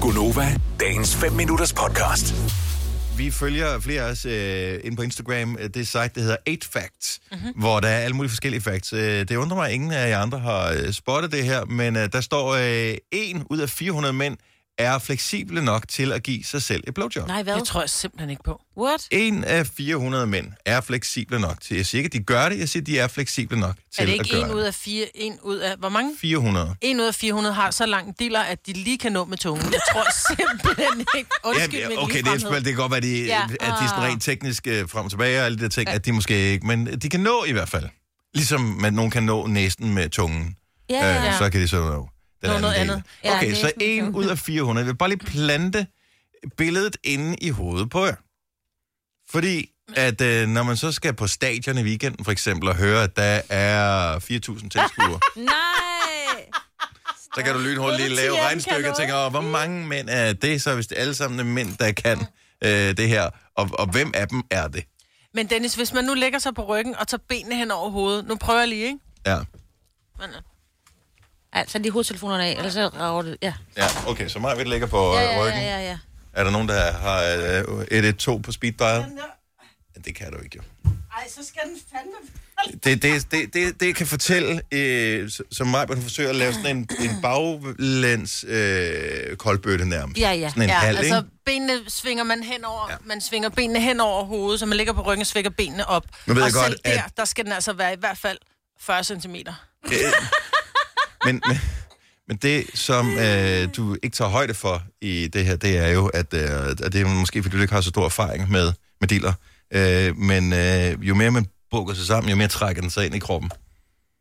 Gunova, dagens 5 minutters podcast. Vi følger flere af os øh, inde på Instagram, øh, det site, der hedder 8 Facts, Mhm. mm-hmm. hvor der er alle mulige forskellige facts. Øh, det undrer mig, at ingen af jer andre har øh, spottet det her, men øh, der står, øh, en ud af 400 mænd er fleksible nok til at give sig selv et blowjob. Nej, hvad? Det tror jeg simpelthen ikke på. What? En af 400 mænd er fleksible nok til, jeg siger ikke, at de gør det, jeg siger, at de er fleksible nok til Er det at ikke gøre en ud af fire, en ud af, hvor mange? 400. En ud af 400 har så lang diller, at de lige kan nå med tungen. Jeg tror simpelthen ikke. Undskyld, Ja, min okay, det, er, ligefremhed. selvfølgelig- det kan godt være, de, ja. Ja. at de er sådan rent teknisk øh, frem og tilbage og alle de der ting, ja. at de måske ikke, men de kan nå i hvert fald. Ligesom man, nogen kan nå næsten med tungen, Ja, ja. ja. øh, så kan de så nå den Nå, anden noget del. andet. Ja, Okay, så næsten med en tungen. ud af 400. Jeg vil bare lige plante billedet inde i hovedet på jer. Fordi at øh, når man så skal på stadion i weekenden for eksempel og høre, at der er 4.000 tilskuere, Nej! så kan du lynhurtigt lige lave Politiet regnstykker kan og tænke, åh, hvor mange mænd er det så, hvis det er alle sammen er mænd, der kan øh, det her, og, og hvem af dem er det? Men Dennis, hvis man nu lægger sig på ryggen og tager benene hen over hovedet. Nu prøver jeg lige, ikke? Ja, Men, øh, Altså, lige hovedtelefonerne af, ellers så rager det. Ja. ja okay, så meget vi ligger på Ja, øh, ja, ryggen. ja, ja, ja. Er der nogen, der har øh, 112 på speed dial? Ja, Det kan du ikke, jo. Ej, så skal den fandme... Det, det, det, det, det kan fortælle, øh, s- som mig, man forsøger at lave sådan en, en baglæns øh, koldbøtte nærmest. Ja, ja. Sådan en Ja, halv, altså ikke? benene svinger man hen over, ja. man svinger benene hen over hovedet, så man ligger på ryggen og svinger benene op. Nu ved og jeg godt, selv der, at- der skal den altså være i hvert fald 40 cm. Øh, men, men, men det, som øh, du ikke tager højde for i det her, det er jo, at, øh, at det er måske, fordi du ikke har så stor erfaring med, med dealer. Øh, men øh, jo mere man bukker sig sammen, jo mere trækker den sig ind i kroppen.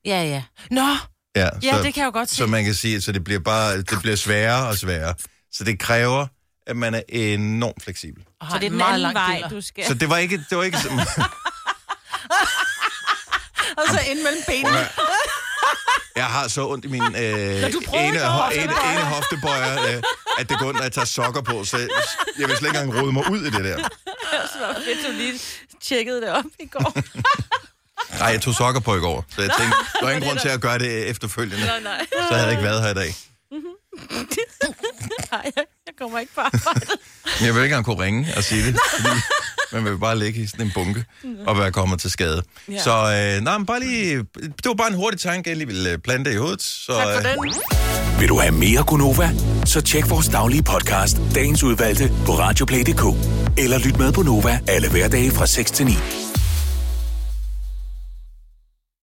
Ja, ja. Nå, Ja, ja, det kan jeg jo godt se. Så man kan sige, så det bliver bare det bliver sværere og sværere. Så det kræver, at man er enormt fleksibel. Og har Så det er en den meget anden lang vej, diller. du skal. Så det var ikke... Det var ikke så- Og Altså, så ind mellem benene. jeg har så ondt i min øh, du prøver ene, ikke ho- at hoftebøje. ene, ene hoftebøjer, øh, at det går ondt, når jeg tager sokker på, så jeg vil slet ikke engang rode mig ud i det der. Det var fedt, du lige tjekkede det op i går. Nej, jeg tog sokker på i går, så jeg tænkte, der er ingen grund til at gøre det efterfølgende. Nå, nej. Så havde jeg ikke været her i dag. Nej, jeg kommer ikke på arbejde. Men jeg vil ikke engang kunne ringe og sige det, fordi man vil bare ligge i sådan en bunke og være kommet til skade. Ja. Så øh, nej, men bare lige, det var bare en hurtig tanke, jeg lige ville øh, plante i hovedet. Så, Tak for øh, den. Vil du have mere Gunova? Så tjek vores daglige podcast, dagens udvalgte, på radioplay.dk. Eller lyt med på Nova alle hverdage fra 6 til 9.